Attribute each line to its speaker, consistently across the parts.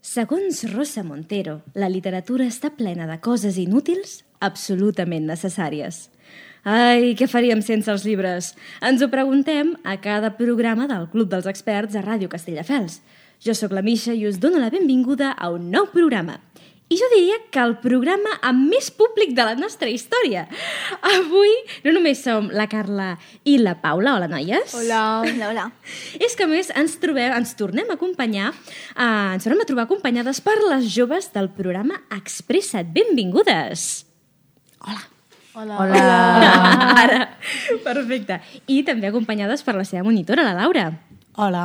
Speaker 1: Segons Rosa Montero, la literatura està plena de coses inútils absolutament necessàries. Ai, què faríem sense els llibres? Ens ho preguntem a cada programa del Club dels Experts a Ràdio Castelldefels. Jo sóc la Misha i us dono la benvinguda a un nou programa. I jo diria que el programa amb més públic de la nostra història. Avui no només som la Carla i la Paula, hola noies.
Speaker 2: Hola, hola.
Speaker 1: És que, a més, ens, trobem, ens tornem a acompanyar, eh, ens tornem a trobar acompanyades per les joves del programa Expressa't. Benvingudes!
Speaker 2: Hola.
Speaker 1: Ara, perfecte. I també acompanyades per la seva monitora, la Laura.
Speaker 3: Hola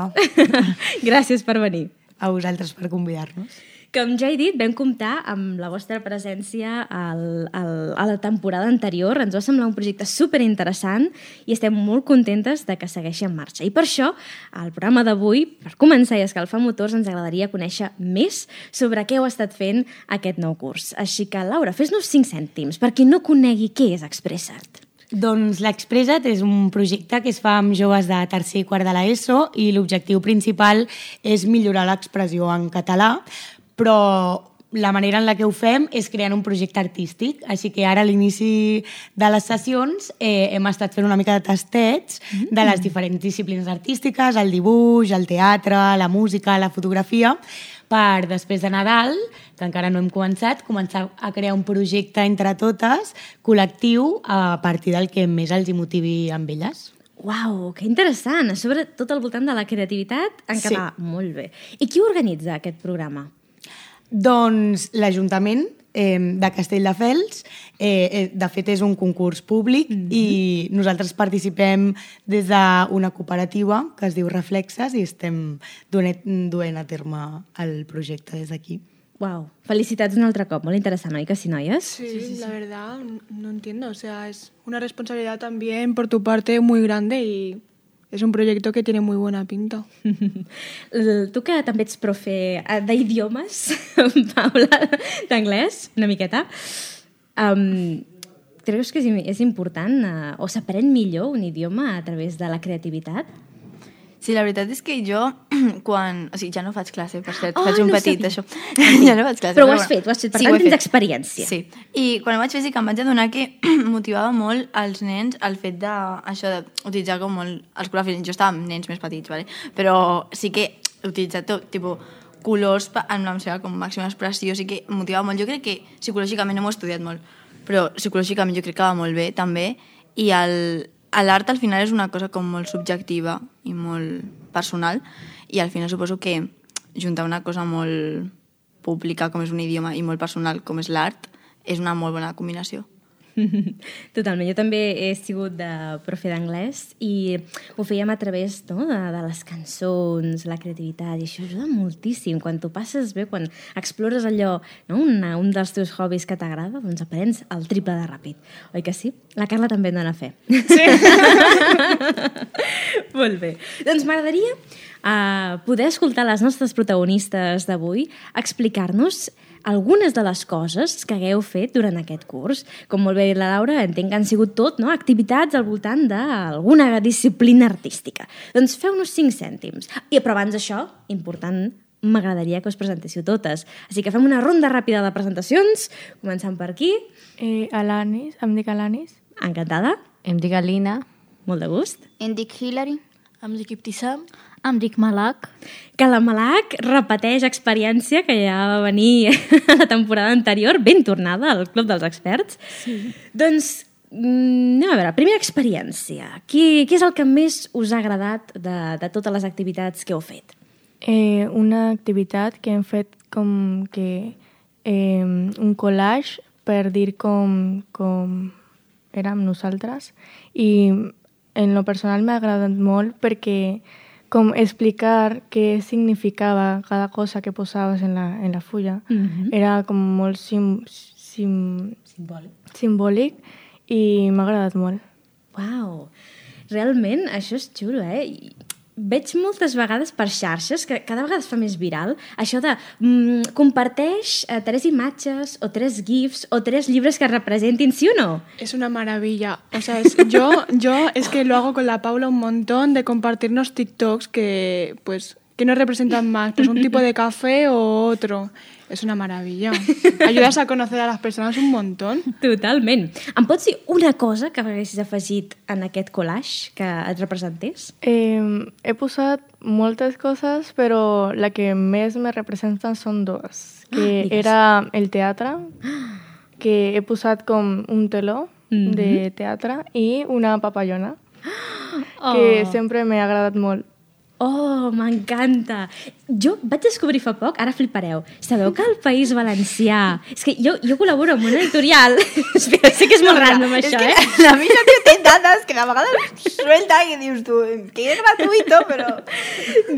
Speaker 1: Gràcies per venir.
Speaker 3: a vosaltres per convidar-nos.
Speaker 1: Com ja he dit, vam comptar amb la vostra presència al, al, a la temporada anterior. Ens va semblar un projecte superinteressant i estem molt contentes de que segueixi en marxa. I per això, al programa d'avui, per començar i escalfar motors, ens agradaria conèixer més sobre què heu estat fent aquest nou curs. Així que, Laura, fes-nos cinc cèntims, per qui no conegui què és Expressa't.
Speaker 3: Doncs l'Expressa't és un projecte que es fa amb joves de tercer i quart de l'ESO i l'objectiu principal és millorar l'expressió en català, però la manera en la que ho fem és creant un projecte artístic, així que ara a l'inici de les sessions eh, hem estat fent una mica de tastets de les diferents disciplines artístiques, el dibuix, el teatre, la música, la fotografia, per després de Nadal, que encara no hem començat, començar a crear un projecte entre totes, col·lectiu, a partir del que més els hi motivi amb elles.
Speaker 1: Uau, que interessant! A sobre, tot al voltant de la creativitat en
Speaker 3: Sí.
Speaker 1: català. Molt bé. I qui organitza aquest programa?
Speaker 3: Doncs l'Ajuntament eh, de Castelldefels, eh, eh, de fet és un concurs públic mm -hmm. i nosaltres participem des d'una cooperativa que es diu Reflexes i estem donet, duent a terme el projecte des d'aquí.
Speaker 1: Uau, felicitats un altre cop. Molt interessant, oi que sí, noies?
Speaker 2: Sí, la verdad, n- no entiendo. O sea, es una responsabilidad también por tu parte muy grande y es un proyecto que tiene muy buena pinta.
Speaker 1: L- Tu que també ets profe eh, d'idiomes, Paula, d'anglès, una miqueta, um, creus que és, im- és important eh, o s'aprèn millor un idioma a través de la creativitat?
Speaker 4: Sí, la veritat és que jo, quan... O sigui, ja no faig classe, per cert,
Speaker 1: Ai,
Speaker 4: oh, faig un
Speaker 1: Ah, no ho
Speaker 4: petit,
Speaker 1: sabia.
Speaker 4: això. ja no faig classe.
Speaker 1: Però ho has fet, ho has fet, per tant,
Speaker 4: ho he
Speaker 1: tens
Speaker 4: fet.
Speaker 1: experiència.
Speaker 4: Sí. I quan ho vaig fer sí que em vaig adonar que motivava molt als nens el fet de, això d'utilitzar com molt els colors. Jo estava amb nens més petits, vale? però sí que he utilitzat tot, tipus, colors pa- en la seva com màxima expressió, sí que em motivava molt. Jo crec que psicològicament no m'ho he estudiat molt, però psicològicament jo crec que va molt bé també i el- a l'art al final és una cosa com molt subjectiva i molt personal i al final suposo que juntar una cosa molt pública com és un idioma i molt personal com és l'art és una molt bona combinació.
Speaker 1: Totalment. Jo també he sigut de profe d'anglès i ho fèiem a través no, de, de les cançons, la creativitat, i això ajuda moltíssim. Quan tu passes bé, quan explores allò, no, una, un dels teus hobbies que t'agrada, doncs aprens el triple de ràpid. Oi que sí? La Carla també en dona fe. Sí. Molt bé. Doncs m'agradaria uh, poder escoltar les nostres protagonistes d'avui explicar-nos algunes de les coses que hagueu fet durant aquest curs. Com molt bé ha dit la Laura, entenc que han sigut tot no? activitats al voltant d'alguna disciplina artística. Doncs feu-nos cinc cèntims. I, però abans d'això, important, m'agradaria que us presentéssiu totes. Així que fem una ronda ràpida de presentacions, començant per aquí.
Speaker 5: Eh, Alanis, em dic Alanis.
Speaker 1: Encantada,
Speaker 6: Em dic Alina.
Speaker 1: molt de gust.
Speaker 7: Em dic Hillary.
Speaker 5: Em dic Iptissam.
Speaker 7: Em dic Malak.
Speaker 1: que la Malac repeteix experiència que ja va venir la temporada anterior, ben tornada al Club dels Experts. Sí. Doncs, mm, anem a veure, primera experiència. Qui, què és el que més us ha agradat de, de totes les activitats que heu fet?
Speaker 5: Eh, una activitat que hem fet com que eh, un collage per dir com, com érem nosaltres i en lo personal m'ha agradat molt perquè com explicar què significava cada cosa que posaves en la, en la fulla.
Speaker 1: Mhm.
Speaker 5: Era com molt sim, sim,
Speaker 3: Simbòlic.
Speaker 5: simbòlic i m'ha agradat molt.
Speaker 1: Uau, realment això és xulo, eh? I Veig moltes vegades per xarxes, que cada vegada es fa més viral, això de mm, comparteix eh, tres imatges o tres gifs o tres llibres que representin, sí o no?
Speaker 2: Es una maravilla. O sea, es- yo, yo es que lo hago con la Paula un montón de compartirnos TikToks que, pues, que nos representan más, pues un tipo de café o otro. Es una maravilla. Ayudas a conocer a las personas un montón.
Speaker 1: Totalment. Em pots dir una cosa que haguessis afegit en aquest collage que et representés?
Speaker 5: Eh, he posat moltes coses, però la que més me representen són dues. Que
Speaker 1: digues.
Speaker 5: era el teatre, que he posat com un teló
Speaker 1: Mhm.
Speaker 5: de teatre i una papallona, que
Speaker 1: Oh.
Speaker 5: sempre m'ha agradat molt.
Speaker 1: Oh, m'encanta! Jo vaig descobrir fa poc, ara flipareu, sabeu que el País Valencià... És que jo, jo col·laboro amb una editorial... Espera, sé que és molt random això,
Speaker 4: que
Speaker 1: eh?
Speaker 4: la mira que té dades que la vegada suelta i dius tu, que és gratuïto, però...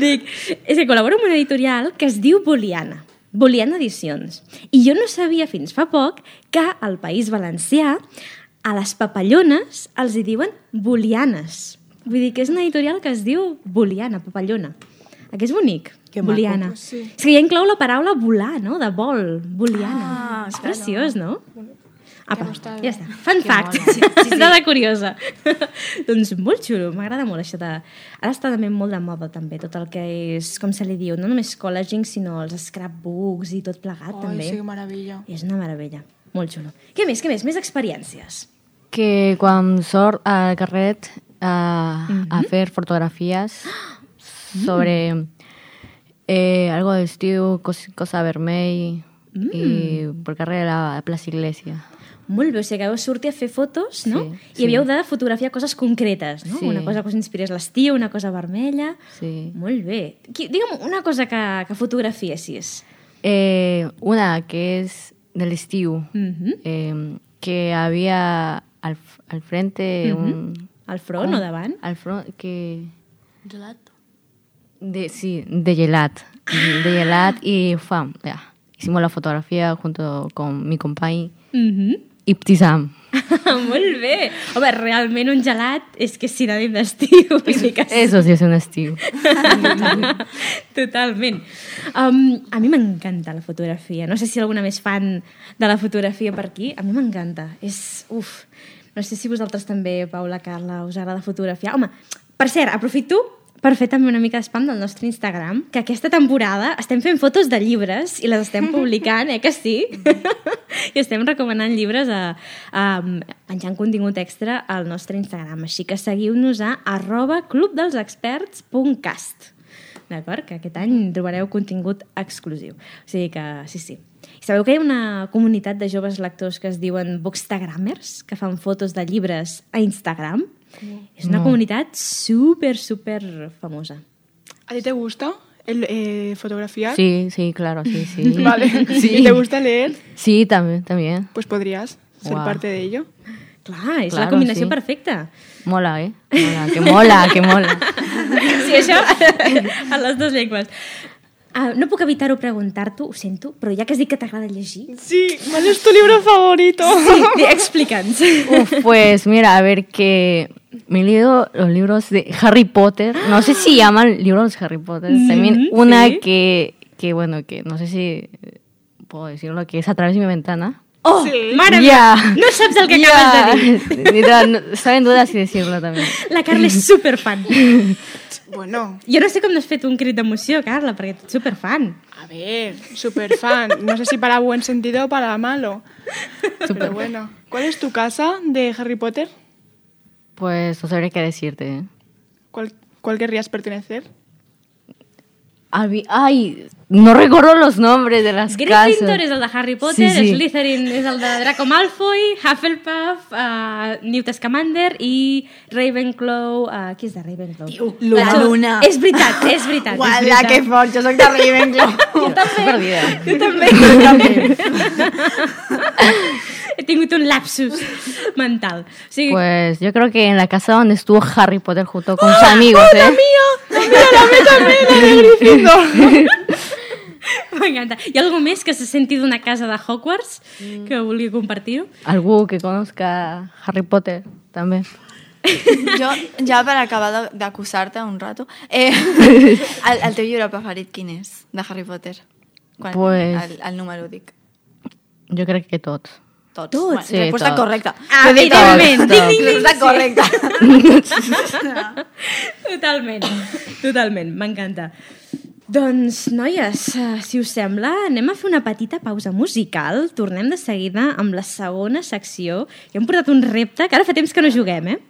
Speaker 1: Dic, és que col·laboro amb una editorial que es diu Boliana, Boliana Edicions. I jo no sabia fins fa poc que al País Valencià a les papallones els hi diuen bolianes. Vull dir que és una editorial que es diu Boliana, papallona. Ah, Que és bonic,
Speaker 3: Que maco.
Speaker 1: boliana. Sí. És que ja inclou la paraula volar, no? De vol, boliana.
Speaker 4: Ah,
Speaker 1: és
Speaker 4: espera.
Speaker 1: preciós, no? Apa,
Speaker 2: m'està
Speaker 1: ja està. Fun
Speaker 4: Que
Speaker 1: fact.
Speaker 4: mola.
Speaker 1: Sí, sí. Dada curiosa. doncs molt xulo, m'agrada molt això de... Ara està també molt de moda també tot el que és, com se li diu, no només collaging, sinó els scrapbooks i tot plegat
Speaker 7: Ah,
Speaker 2: Ai,
Speaker 1: també.
Speaker 2: sí, que maravilla.
Speaker 1: És una meravella, molt xulo. Què més, què més? Més experiències.
Speaker 7: Que quan sort al carret a, a fer fotografies sobre eh, algo de estiu, cos- cosa vermell y por carrera a Plaza Iglesia.
Speaker 1: Molt bé, o sigui que vau sortir a fer fotos, no?
Speaker 7: Sí,
Speaker 1: I havíeu de fotografiar coses concretes, no?
Speaker 7: Sí.
Speaker 1: Una cosa que us inspirés l'estiu, una cosa vermella...
Speaker 7: Sí.
Speaker 1: Molt bé. Qui, digue'm una cosa que, que fotografiessis.
Speaker 7: Eh, una que es del estiu,
Speaker 1: Mhm.
Speaker 7: eh, que había al, al frente un...
Speaker 1: Al front o davant?
Speaker 7: Al front, que... De, sí, de Gelat. De Gelat y fam. ya. Hicimos la fotografía junto con mi compañero
Speaker 1: Mhm.
Speaker 7: Iptizam.
Speaker 1: Molt bé. Home, realment un gelat és que és sinònim d'estiu. vull dir que sí.
Speaker 7: Eso sí es un estilo.
Speaker 1: Totalment. Um, a mi m'encanta la fotografia. No sé si alguna més fan de la fotografia per aquí. A mi m'encanta. És... Uf. No sé si vosaltres també, Paula, Carla, us agrada fotografiar. Home, per cert, aprofito per fer també una mica d'espam del nostre Instagram, que aquesta temporada estem fent fotos de llibres i les estem publicant, eh que sí? I estem recomanant llibres a, a, penjant contingut extra al nostre Instagram. Així que seguiu-nos a arroba clubdelsexperts.cast. D'acord? Que aquest any trobareu contingut exclusiu. O sigui que, sí, sí. I sabeu que hi ha una comunitat de joves lectors que es diuen bookstagrammers, que fan fotos de llibres a Instagram? És
Speaker 7: Mm.
Speaker 1: una comunitat super, super famosa.
Speaker 2: ¿A ti te gusta el, eh, fotografiar?
Speaker 7: Sí, sí, claro, sí, sí.
Speaker 2: Vale.
Speaker 7: Sí,
Speaker 2: ¿Y te gusta leer?
Speaker 7: Sí, también, también.
Speaker 2: Pues podrías ser
Speaker 7: Guau.
Speaker 2: parte de ello.
Speaker 1: Clar, és la
Speaker 7: Claro,
Speaker 1: combinació
Speaker 7: sí.
Speaker 1: perfecta.
Speaker 7: Mola, ¿eh? Mola, que mola, que mola.
Speaker 1: Sí, això en les dues llengües. Ah, no puc evitar-ho preguntar-t'ho, ho sento, però ja que has dit que t'agrada llegir...
Speaker 2: Sí, ¿cuál es tu libro favorito?
Speaker 1: Sí, di- explica'ns.
Speaker 7: Uf, pues mira, a ver que me he leído los libros de Harry Potter. No sé si llaman libros Harry Potter. También
Speaker 1: Ujú,
Speaker 7: una
Speaker 1: sí.
Speaker 7: que, que, bueno, que no sé si eh, puedo decirlo, que es a través de mi ventana.
Speaker 1: Oh,
Speaker 2: Sí.
Speaker 1: mare meva,
Speaker 7: Ya.
Speaker 1: no saps el que
Speaker 7: Ya.
Speaker 1: acabes de dir.
Speaker 7: Mira, no- estaba en duda si decirlo también.
Speaker 1: La Carla és superfan.
Speaker 2: Bueno,
Speaker 1: Jo no sé com no has fet un crit d'emoció, Carla, perquè tu ets superfan.
Speaker 2: a ver, super fan. No sé si para buen sentido o para malo. Pero bueno. ¿Cuál es tu casa de Harry Potter?
Speaker 7: Pues no sabría qué decirte. ¿eh?
Speaker 2: ¿Cuál, cuál querrías pertenecer?
Speaker 7: Abi- Ay, no recuerdo los nombres de las
Speaker 1: Gryffindor és
Speaker 7: casas.
Speaker 1: el de Harry Potter,
Speaker 7: Sí, sí.
Speaker 1: Slytherin és el de Draco Malfoy, Hufflepuff, uh, Newt Scamander i Ravenclaw... Uh, qui és de Ravenclaw?
Speaker 4: Luna.
Speaker 1: Jo-
Speaker 4: Luna.
Speaker 1: És veritat, és veritat. és
Speaker 4: Uala,
Speaker 1: veritat.
Speaker 4: que fort, jo soc de Ravenclaw.
Speaker 1: Jo també.
Speaker 7: Perdida.
Speaker 1: Jo també. He tingut un lapsus mental. O sigui, ¡Ah!
Speaker 7: Pues yo creo que en la casa donde estuvo Harry Potter junto con sus amigos,
Speaker 1: ¡Oh,
Speaker 7: ¿eh?
Speaker 1: m'encanta. Hi ha algú més que se senti d'una casa de Hogwarts que vulgui compartir-ho?
Speaker 7: Algo que conozca Harry Potter también.
Speaker 4: Jo, ja per acabar de- d'acusar-te un rato, eh, el, el teu llibre preferit quin és, de Harry Potter? Quan,
Speaker 7: Pues-
Speaker 4: el, el número dic.
Speaker 7: Yo creo que todos.
Speaker 4: Tots.
Speaker 1: Tots,
Speaker 4: Bueno,
Speaker 7: sí,
Speaker 4: resposta
Speaker 7: tots.
Speaker 4: correcta.
Speaker 1: Evidentment.
Speaker 7: Stop,
Speaker 1: Ding,
Speaker 7: stop.
Speaker 1: ding, ding.
Speaker 4: Resposta correcta.
Speaker 1: Totalment. Totalment, m'encanta. Doncs, noies, eh, si us sembla, anem a fer una petita pausa musical. Tornem de seguida amb la segona secció. I hem portat un repte que ara fa temps que no juguem, eh?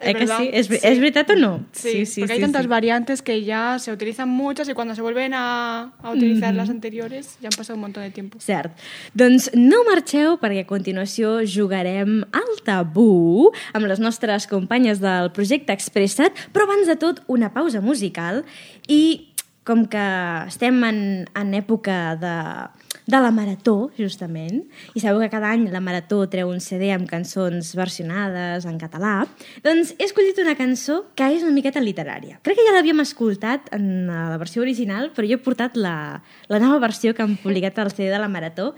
Speaker 2: Es
Speaker 1: eh que
Speaker 2: verdad,
Speaker 1: sí? ¿Es,
Speaker 2: sí.
Speaker 1: ¿Es verdad o no?
Speaker 2: Sí, porque hay tantas variantes que ya se utilizan muchas y cuando se vuelven a, a utilizar las anteriores ya han pasado un montón de tiempo.
Speaker 1: Cert. Doncs no marxeu perquè a continuació jugarem al tabú amb les nostres companyes del projecte Expressa't, però abans de tot una pausa musical i com que estem en, en època de, de la Marató, justament, i sabeu que cada any la Marató treu un CD amb cançons versionades en català, doncs he escollit una cançó que és una miqueta literària. Crec que ja l'havíem escoltat en eh, la versió original, però jo he portat la, la nova versió que han publicat al CD de la Marató,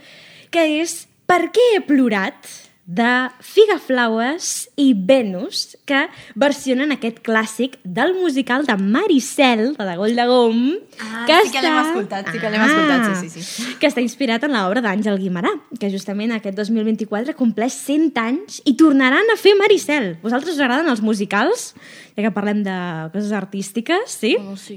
Speaker 1: que és Per què he plorat? de Figaflaues i Venus, que versionen aquest clàssic del musical de Maricel, de Dagoll de Gom. Ah.
Speaker 4: Ah, sí que l'hem escoltat, sí que l'hem escoltat, sí, sí, sí.
Speaker 1: Que està inspirat en l'obra d'Àngel Guimarà, que justament aquest 2024 compleix 100 anys i tornaran a fer Maricel. Vosaltres us agraden els musicals? Ja que parlem de coses artístiques, sí?
Speaker 2: Oh, sí.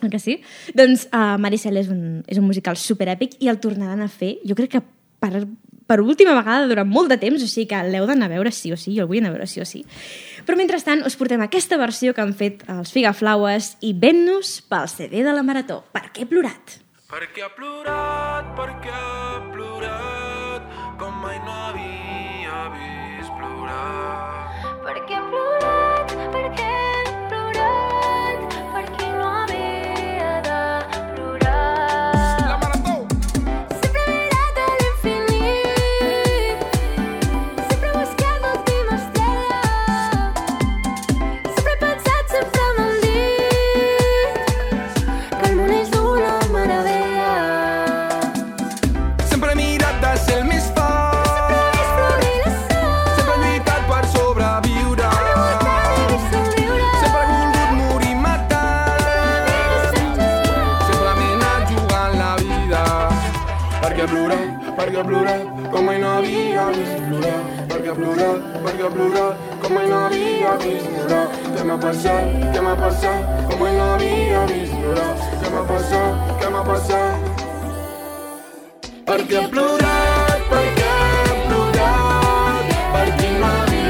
Speaker 1: El que sí? Doncs uh, Maricel és un, és un musical superèpic i el tornaran a fer, jo crec que per, per última vegada durant molt de temps, o sigui que l'heu d'anar a veure sí o sí, jo el vull anar a veure sí o sí. Però mentrestant us portem aquesta versió que han fet els Figaflaues i Venus pel CD de la Marató. Per què he plorat?
Speaker 6: Perquè ha plorat, perquè ha plorat, com mai no havia vist plorar.
Speaker 8: Perquè ha plorat, perquè ha plorat, perquè no havia de plorar.
Speaker 6: La marató!
Speaker 8: Sempre he mirat a l'infinit, sempre he buscat l'última estrella, sempre he pensat, sempre m'han dit que el món és una meravella.
Speaker 6: Sempre he mirat de ser el més
Speaker 8: Sempre he
Speaker 6: fort,
Speaker 8: vist florir la sort,
Speaker 6: sempre he lluitat per sobreviure.
Speaker 8: sempre he vist somriure,
Speaker 6: Sempre he volgut morir matant,
Speaker 8: sempre he vist sentir.
Speaker 6: sempre m'he anat jugant la vida. Perquè ha plorat, perquè ha plorat, com mai no havia vist plorar. Perquè ha plorat, perquè ha plorat, com mai no havia vist plorar. Què m'ha passat, què m'ha passat, com mai no havia vist plorar. Què m'ha passat, què m'ha passat, perquè ha plorat, perquè ha plorat, perquè no havia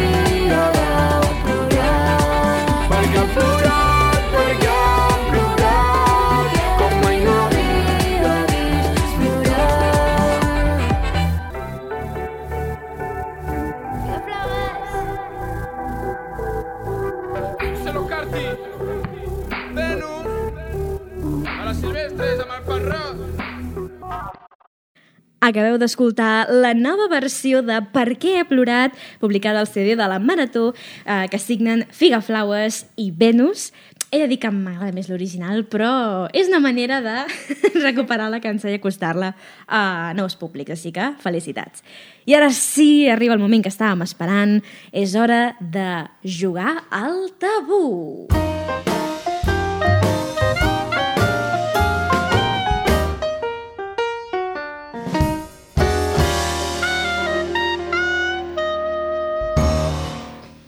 Speaker 6: de plorar. Perquè ha plorat, perquè ha plorat, com mai no havia vist plorar.
Speaker 8: Que plogues,
Speaker 6: Angelo Carti, Venus, a la Silvestres, amb el Ferrat.
Speaker 1: Acabeu d'escoltar la nova versió de Per què he plorat, publicada al CD de la Marató, eh, que signen Figaflaues i Venus. He de dir que m'agrada més l'original, però és una manera de recuperar la cançó i acostar-la a nous públics, així que felicitats. I ara sí, arriba el moment que estàvem esperant. És hora de jugar al tabú.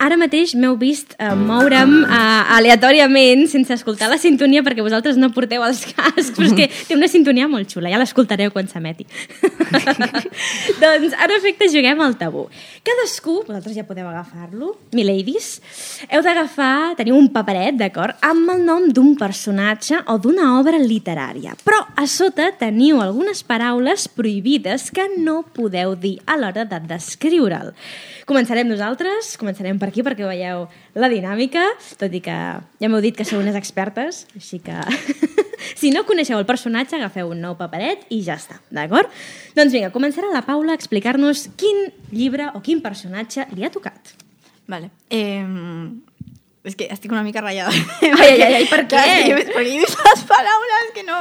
Speaker 1: Ara mateix m'heu vist eh, moure'm eh, aleatòriament sense escoltar la sintonia perquè vosaltres no porteu els cascs, però és que té una sintonia molt xula, ja l'escoltareu quan s'emeti. doncs, en efecte, juguem al tabú. Cadascú, vosaltres ja podeu agafar-lo, miladies, heu d'agafar, teniu un paperet, d'acord, amb el nom d'un personatge o d'una obra literària. Però a sota teniu algunes paraules prohibides que no podeu dir a l'hora de descriure'l. Començarem nosaltres, començarem per aquí perquè veieu la dinàmica, tot i que ja m'heu dit que sou unes expertes, així que si no coneixeu el personatge, agafeu un nou paperet i ja està, d'acord? Doncs vinga, començarà la Paula a explicar-nos quin llibre o quin personatge li ha tocat.
Speaker 4: Vale. Eh, és que estic una mica ratllada.
Speaker 1: ai, ai, ai, per
Speaker 4: Clar,
Speaker 1: què?
Speaker 4: és que jo- Perquè he vist les paraules que no...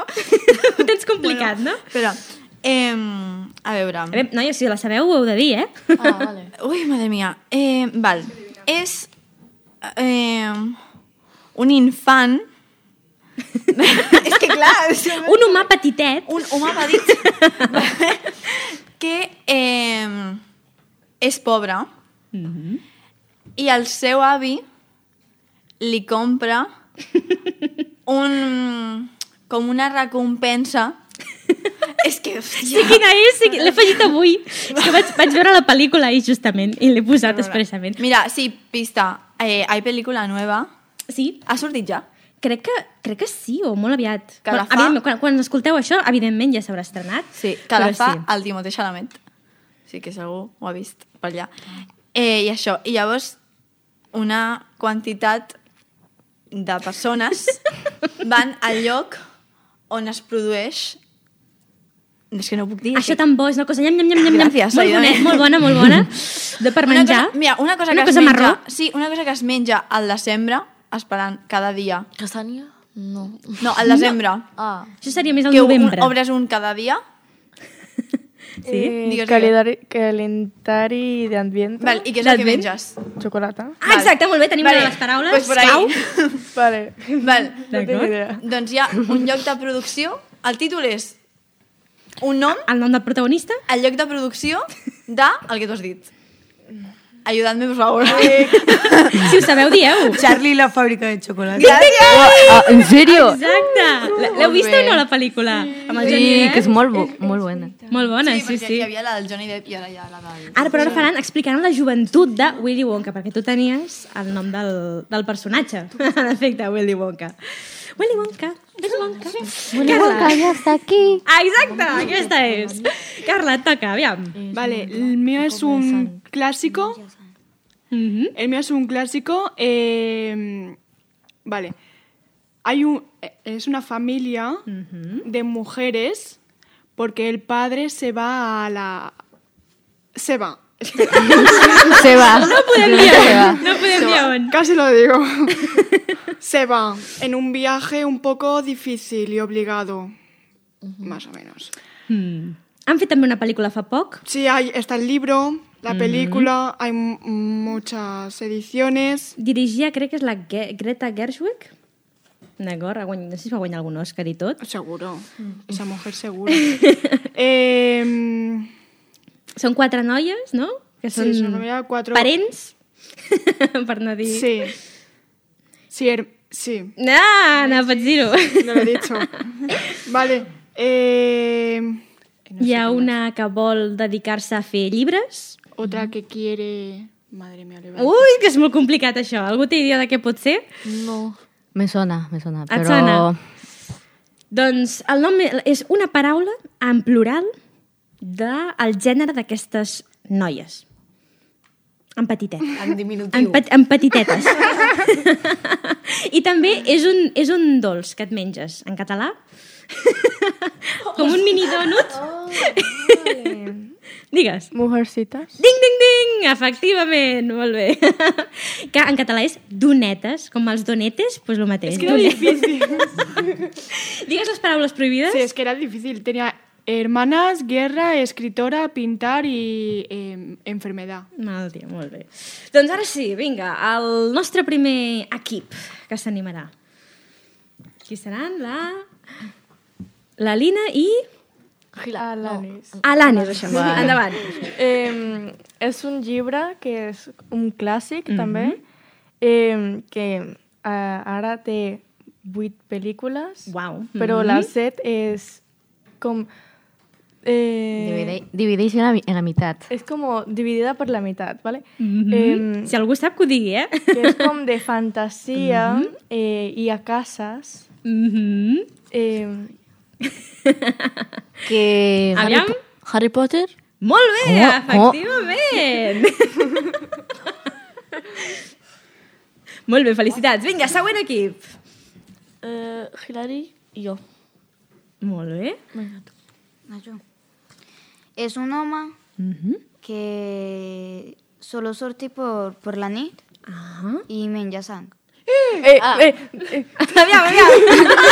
Speaker 1: Ho tens complicat,
Speaker 4: bueno,
Speaker 1: no?
Speaker 4: Espera. Eh, a veure...
Speaker 1: A veure, noia, si la sabeu ho heu de dir, eh?
Speaker 4: Ah, vale. Ui, madre mía. Eh, val. És eh, un infant... és que clar... és que-
Speaker 1: Un humà petitet
Speaker 4: un home va dir que eh, és pobre mm -hmm. i el seu avi li compra un, com una recompensa. és que,
Speaker 1: Sí,
Speaker 4: hòstia,
Speaker 1: quina és? Sí, qui- l'he afegit avui. És que vaig, vaig veure la pel·lícula ahir, justament, i l'he posat expressament.
Speaker 4: Mira, sí, pista. Eh, hay película nueva.
Speaker 1: Sí,
Speaker 4: Ha sortit ja?
Speaker 1: crec que, crec que sí, o molt aviat.
Speaker 4: Que la fa-
Speaker 1: evidentment, quan, quan escolteu això, evidentment ja s'haurà estrenat.
Speaker 4: Sí, que la
Speaker 1: però
Speaker 4: fa
Speaker 1: sí.
Speaker 4: el Timothée Chalamet. Sí que segur ho ha vist per allà.
Speaker 1: Ah.
Speaker 4: Eh, I això, i llavors una quantitat de persones van al lloc on es produeix és que no ho puc dir.
Speaker 1: Això
Speaker 4: sí.
Speaker 1: tan bo, és una cosa... Nyam, nyam, nyam, nyam, nyam.
Speaker 4: Gràcies,
Speaker 1: molt, bona,
Speaker 4: Aidone.
Speaker 1: molt bona, molt bona. De per
Speaker 4: Una
Speaker 1: menjar.
Speaker 4: cosa, mira, una cosa
Speaker 1: una
Speaker 4: que
Speaker 1: cosa
Speaker 4: es
Speaker 1: marró.
Speaker 4: menja, sí, una cosa que es menja al desembre, esperant cada dia.
Speaker 8: Castanya? No.
Speaker 4: No, al desembre.
Speaker 8: Ah.
Speaker 1: Això seria més al
Speaker 4: que un,
Speaker 1: novembre.
Speaker 4: obres un cada dia.
Speaker 5: Eh,
Speaker 4: Digues,
Speaker 5: calendari, calendari de ambiente.
Speaker 4: Val, I què és el que
Speaker 1: D'Advent?
Speaker 4: menges?
Speaker 5: Chocolata.
Speaker 1: Ah, exacte, molt bé, tenim
Speaker 4: Vale,
Speaker 1: una de les paraules.
Speaker 4: pues por ahí.
Speaker 1: Cau.
Speaker 5: Vale.
Speaker 4: Val.
Speaker 5: No tengo
Speaker 1: D'acord.
Speaker 5: idea.
Speaker 4: Doncs hi ha un lloc de producció, el títol és un nom,
Speaker 1: El nom del protagonista?
Speaker 4: el lloc de producció de el que tu has dit. Ajudant-me, per favor.
Speaker 1: Si ho sabeu, dieu.
Speaker 3: Charlie i la fàbrica de xocolata.
Speaker 7: Ah, ¿En serio?
Speaker 1: Exacte. L- L'heu vist o no, la pel·lícula? Amb el Johnny
Speaker 7: Sí,
Speaker 1: Depp?
Speaker 7: que es muy, bu- muy buena.
Speaker 1: Molt bona, sí,
Speaker 4: perquè
Speaker 1: sí.
Speaker 4: hi havia la del Johnny Depp i ara hi ha la del...
Speaker 1: Ara, però ara faran, explicaran la joventut de Willy Wonka, perquè tu tenies el nom del, del personatge, en efecte, Willy Wonka. Willy Wonka, Willy Wonka. Willy Wonka ja està aquí. Ah, exacte, aquesta és. Carla, et toca, aviam.
Speaker 2: Vale, el mío es un clásico.
Speaker 1: Mhm.
Speaker 2: El mío es un clásico. eh, vale. Hay un, eh, es una familia de mujeres porque el padre se va a la... Se va.
Speaker 7: Se va.
Speaker 1: No podem dir
Speaker 7: Se va.
Speaker 1: on, no podem dir on.
Speaker 2: Casi lo digo. se va en un viaje un poco difícil y obligado. Más o menos.
Speaker 1: Mm. Han fet també una pel·lícula fa poc.
Speaker 2: Sí, hay, está el libro, la película, hay mu- muchas ediciones.
Speaker 1: Dirigia, crec que és la Ge Greta Gershwig. D'acord, ha guany- no sé si va guanyar algun Òscar i tot.
Speaker 2: Seguro. Esa mujer seguro. Em,
Speaker 1: Són quatre noies, no? Que són,
Speaker 2: sí, su novia cuatro...
Speaker 1: parents, per no dir...
Speaker 2: Sí. Sí, her- sí,
Speaker 1: No, no pots Ah, dir-ho.
Speaker 2: no lo he dicho. Vale. em,
Speaker 1: Hi ha una que vol dedicar-se a fer llibres.
Speaker 2: otra que quiere... Madre mía, le va a
Speaker 1: Ui, que és molt complicat això. Algú té idea de què pot ser?
Speaker 8: No.
Speaker 7: Me suena, me suena.
Speaker 1: Et
Speaker 7: Pero...
Speaker 1: sona? Doncs el nom és una paraula en plural del el gènere d'aquestes noies. En petitet.
Speaker 3: En diminutiu.
Speaker 1: En, pet, en petitetes. I també és un, és un dolç que et menges en català. Com un mini donut. Digues.
Speaker 5: Mujercitas.
Speaker 1: Ding, ding, ding! Efectivament, molt bé. Que en català és donetes, com els donetes, doncs el mateix.
Speaker 2: Es que era difícil.
Speaker 1: Digues les paraules prohibides.
Speaker 2: Sí, es que era difícil. Tenía hermanas, guerra, escritora, pintar y em, enfermedad.
Speaker 1: Mal dia, molt bé. Doncs ara sí, vinga, el nostre primer equip que s'animarà. Qui seran? La... La Lina i...
Speaker 5: Alanis.
Speaker 1: Alanis, això. Endavant.
Speaker 5: Eh, és un llibre que és un clàssic, també, eh, que eh, ara té vuit pel·lícules,
Speaker 1: Uau.
Speaker 5: però
Speaker 1: Mhm.
Speaker 5: la set és com... Eh,
Speaker 7: Dividéis, dividéis en, la, mi- en la mitad.
Speaker 5: és com dividida per la meitat, ¿vale?
Speaker 1: Mhm.
Speaker 5: Em,
Speaker 1: Si algú sap que ho digui, eh?
Speaker 5: que és com de fantasia eh, i a cases.
Speaker 1: Mhm.
Speaker 5: Eh,
Speaker 7: Que...
Speaker 1: Aviam.
Speaker 8: Harry Potter?
Speaker 1: Molt bé,
Speaker 7: Oh, oh.
Speaker 1: efectivament. molt bé, felicitats. Vinga, següent equip.
Speaker 8: Eh, Hilary i jo.
Speaker 1: Molt bé.
Speaker 9: Es un home
Speaker 1: Mhm.
Speaker 9: que solo sortir por, por la nit
Speaker 1: Ah.
Speaker 9: i menja sang.
Speaker 5: eh, eh, eh,
Speaker 1: Aviam, aviam.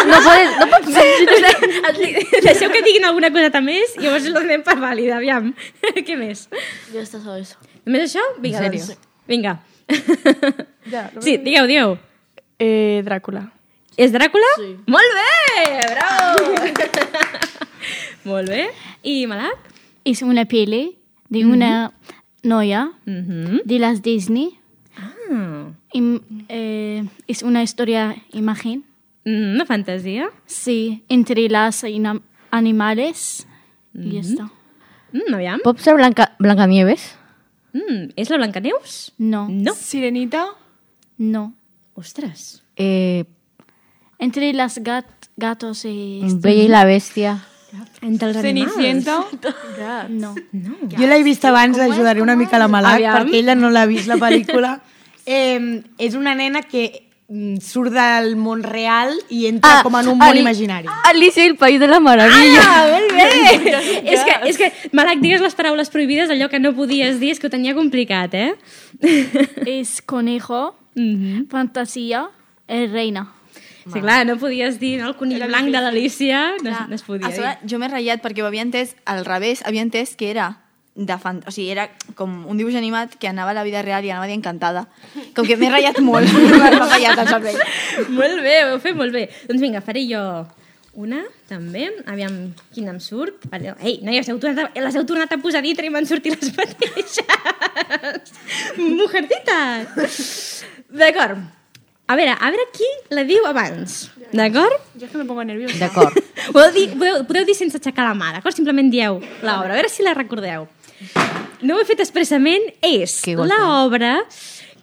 Speaker 7: No puedes, no puedes.
Speaker 1: Deixeu que diguin alguna coseta més i llavors la donem per vàlida, aviam. Què més?
Speaker 8: Ja està sobre això.
Speaker 1: Només això? Vinga,
Speaker 8: En
Speaker 1: doncs.
Speaker 8: sèrio?
Speaker 1: Vinga.
Speaker 5: ja, lo-
Speaker 1: Sí, digueu, digueu.
Speaker 5: eh, Dràcula.
Speaker 1: És Dràcula?
Speaker 8: Sí.
Speaker 1: Molt bé! Bravo! Molt bé. I Malac?
Speaker 10: es una peli de una noia
Speaker 1: Mm
Speaker 10: de las Disney.
Speaker 1: ah.
Speaker 10: Im- eh, es una historia imagen
Speaker 1: Mm, Una fantasía?
Speaker 10: Sí, entre las ina- animales y esto.
Speaker 1: Mm, aviam.
Speaker 7: Pot ser Blanca, Blancanieves?
Speaker 1: Mm, és la Blancaneus?
Speaker 10: No,
Speaker 1: No.
Speaker 2: Sirenita,
Speaker 10: no.
Speaker 1: Ostres.
Speaker 7: Eh,
Speaker 10: Entre las gat- gatos y...
Speaker 7: Bella i la Bèstia.
Speaker 1: Entre els
Speaker 2: Cenicienta,
Speaker 10: No.
Speaker 3: Jo l'he vist abans, ajudaré una mica la Malak, perquè ella no l'ha vist, la pel·lícula. eh, és una nena que mm, surt del món real i entra ah, com en un món
Speaker 7: Ali-
Speaker 3: imaginari.
Speaker 7: Alicia i el País de la Meravella.
Speaker 1: animals. és que, és que, Malak, digues les paraules prohibides, allò que no podies dir, és que ho tenia complicat, eh?
Speaker 10: Es conejo,
Speaker 1: Mhm.
Speaker 10: fantasía, eh, reina.
Speaker 1: Sí, clar, no podies dir no, el conill blanc de l'Alicia, no, es- no es podia eh?
Speaker 4: a sobre,
Speaker 1: dir.
Speaker 4: jo m'he ratllat perquè ho havia entès al revés, havia entès que era de fan... o sigui, era com un dibuix animat que anava a la vida real i anava d'encantada. Com que m'he ratllat molt, m'ha ratllat el cervell.
Speaker 1: molt bé, ho heu fet molt bé. Doncs vinga, faré jo una, també. Aviam quina em surt. Vale. Ei, noies, heu tornat a, les heu tornat a posar dintre i m'han sortit les mateixes. Mujercitas! D'acord. A veure, a veure qui la diu abans. D'acord?
Speaker 2: yo es que me pongo nerviosa.
Speaker 7: D'acord.
Speaker 1: Podeu dir, podeu, podeu dir sense aixecar la mà, d'acord? Simplement dieu l'obra, a veure si la recordeu. No ho he fet expressament, és
Speaker 7: Que golpe.
Speaker 1: l'obra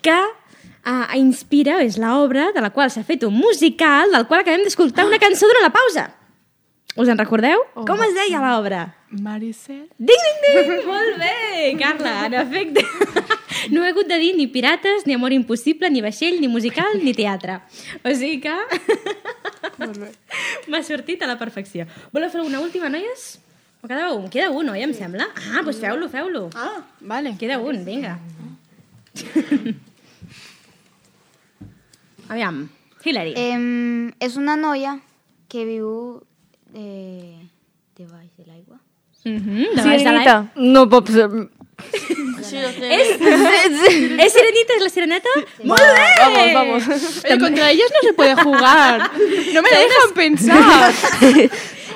Speaker 1: que uh, inspira, és l'obra de la qual s'ha fet un musical del qual acabem d'escoltar una cançó durant la pausa. Us en recordeu? Oh. Com es deia l'obra?
Speaker 2: Maricel.
Speaker 1: Ding, ding, ding! Molt bé, Carla, en efecte. No he hagut de dir ni pirates, ni amor impossible, ni vaixell, ni musical, ni teatre. O sigui que... M'ha sortit a la perfecció. Voleu fer una última, noies? O queda un? Queda un, oi, em sembla? Ah, doncs feu-lo, feu-lo.
Speaker 2: Ah, vale.
Speaker 1: Queda un, vinga. Aviam, Hilary.
Speaker 9: Em, és una noia que viu eh, davall de l'aigua.
Speaker 1: Mhm, de baix de l'aigua.
Speaker 5: Sirenita.
Speaker 7: No pot ser...
Speaker 1: És, és E. Eh, sirenita, és la sireneta? Molt bé! Vamos, vamos.
Speaker 2: Oye, contra ellos no se puede jugar. No me dejan pensar.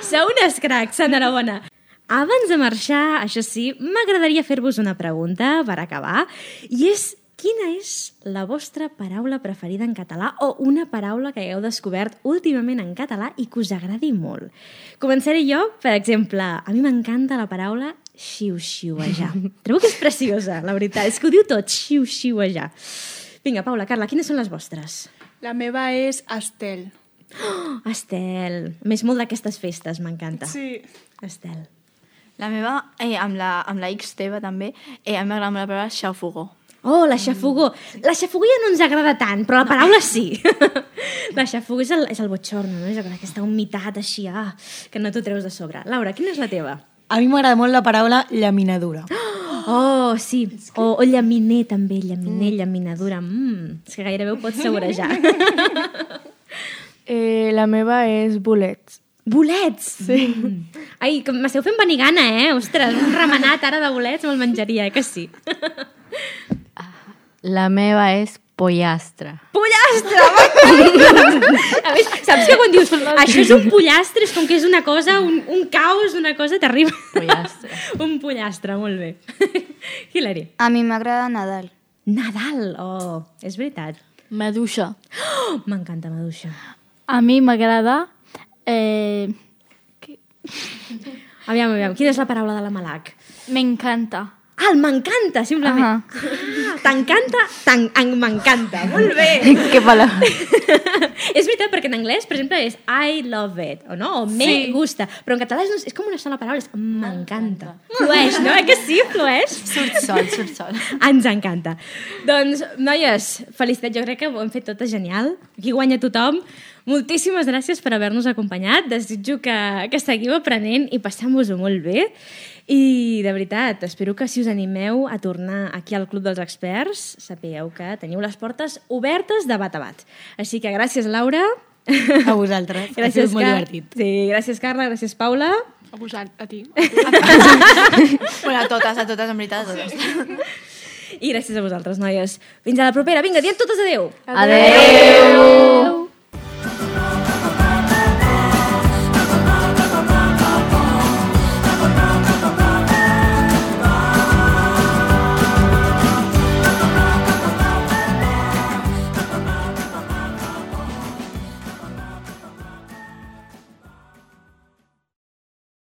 Speaker 1: Sou unes cracs, enhorabona. Abans de marxar, això sí, m'agradaria fer-vos una pregunta per acabar, i és quina és la vostra paraula preferida en català o una paraula que hagueu descobert últimament en català i que us agradi molt? Començaré jo, per exemple, a mi m'encanta la paraula xiu-xiuejar. Trobo que és preciosa, la veritat, és que ho diu tot, xiu-xiuejar. Vinga, Paula, Carla, quines són les vostres?
Speaker 2: La meva és Astel.
Speaker 1: Oh, Estel, a més molt d'aquestes festes, m'encanta.
Speaker 2: Sí.
Speaker 1: Estel.
Speaker 4: La meva, eh, amb, la, amb la X teva també, eh, a mi m'agrada molt la paraula xafugó.
Speaker 1: Oh, la xafugó. La xafugó ja no ens agrada tant, però la paraula sí. la xafugó és el, és el botxorno, no? És aquesta humitat així, ah, que no t'ho treus de sobre. Laura, quina és la teva?
Speaker 3: A mi m'agrada molt la paraula llaminadura.
Speaker 1: Oh, sí. O, o llaminer, també. Llaminer, llaminadura. Mm, és que gairebé ho pots segurejar.
Speaker 5: Eh, la meva és bolets.
Speaker 1: bolets! Sí. Mm. Ai, que m'esteu fent venir gana, eh? Ostres, un remenat ara de bolets me'l menjaria, eh? Que sí.
Speaker 7: La meva és pollastre.
Speaker 1: Pollastre! m'encanta! A més, saps que quan dius això és un pollastre, és com que és una cosa, un, un caos, una cosa terrible.
Speaker 7: Pollastre.
Speaker 1: un pollastre, molt bé. Hilary.
Speaker 9: A mi m'agrada Nadal.
Speaker 1: Nadal, oh, és veritat.
Speaker 10: Medusa.
Speaker 1: Oh, M'encanta maduixa.
Speaker 10: A mí me agrada... eh,
Speaker 1: Aviam, aviam, quina és la paraula de la Malac?
Speaker 10: me encanta.
Speaker 1: Ah, el m'encanta, simplement.
Speaker 10: Ahà.
Speaker 1: Ah, T'encanta, tan- en- m'encanta. Molt bé.
Speaker 7: Què paraula?
Speaker 1: és veritat, perquè en anglès, per exemple, és I love it, o no? O me gusta. Però en català és, és com una sola paraula, és m'encanta. Flueix, no? Eh que sí, flueix?
Speaker 4: Surt sol, surt sol.
Speaker 1: Ens encanta. Doncs, noies, felicitat, jo crec que ho hem fet totes genial. Aquí guanya tothom. Moltíssimes gràcies per haver-nos acompanyat. Desitjo que, que seguiu aprenent i passant-vos-ho molt bé. I, de veritat, espero que si us animeu a tornar aquí al Club dels Experts, sapigueu que teniu les portes obertes de bat a bat. Així que gràcies, Laura.
Speaker 3: A vosaltres. ha sigut molt
Speaker 1: Car-
Speaker 3: divertit.
Speaker 1: Sí, gràcies, Carla, gràcies, Paula.
Speaker 2: A posar a ti.
Speaker 4: Bueno, a totes, a totes, en veritat, a totes.
Speaker 1: I gràcies a vosaltres, noies. Fins a la propera. Vinga, diem totes adeu.
Speaker 7: Adéu!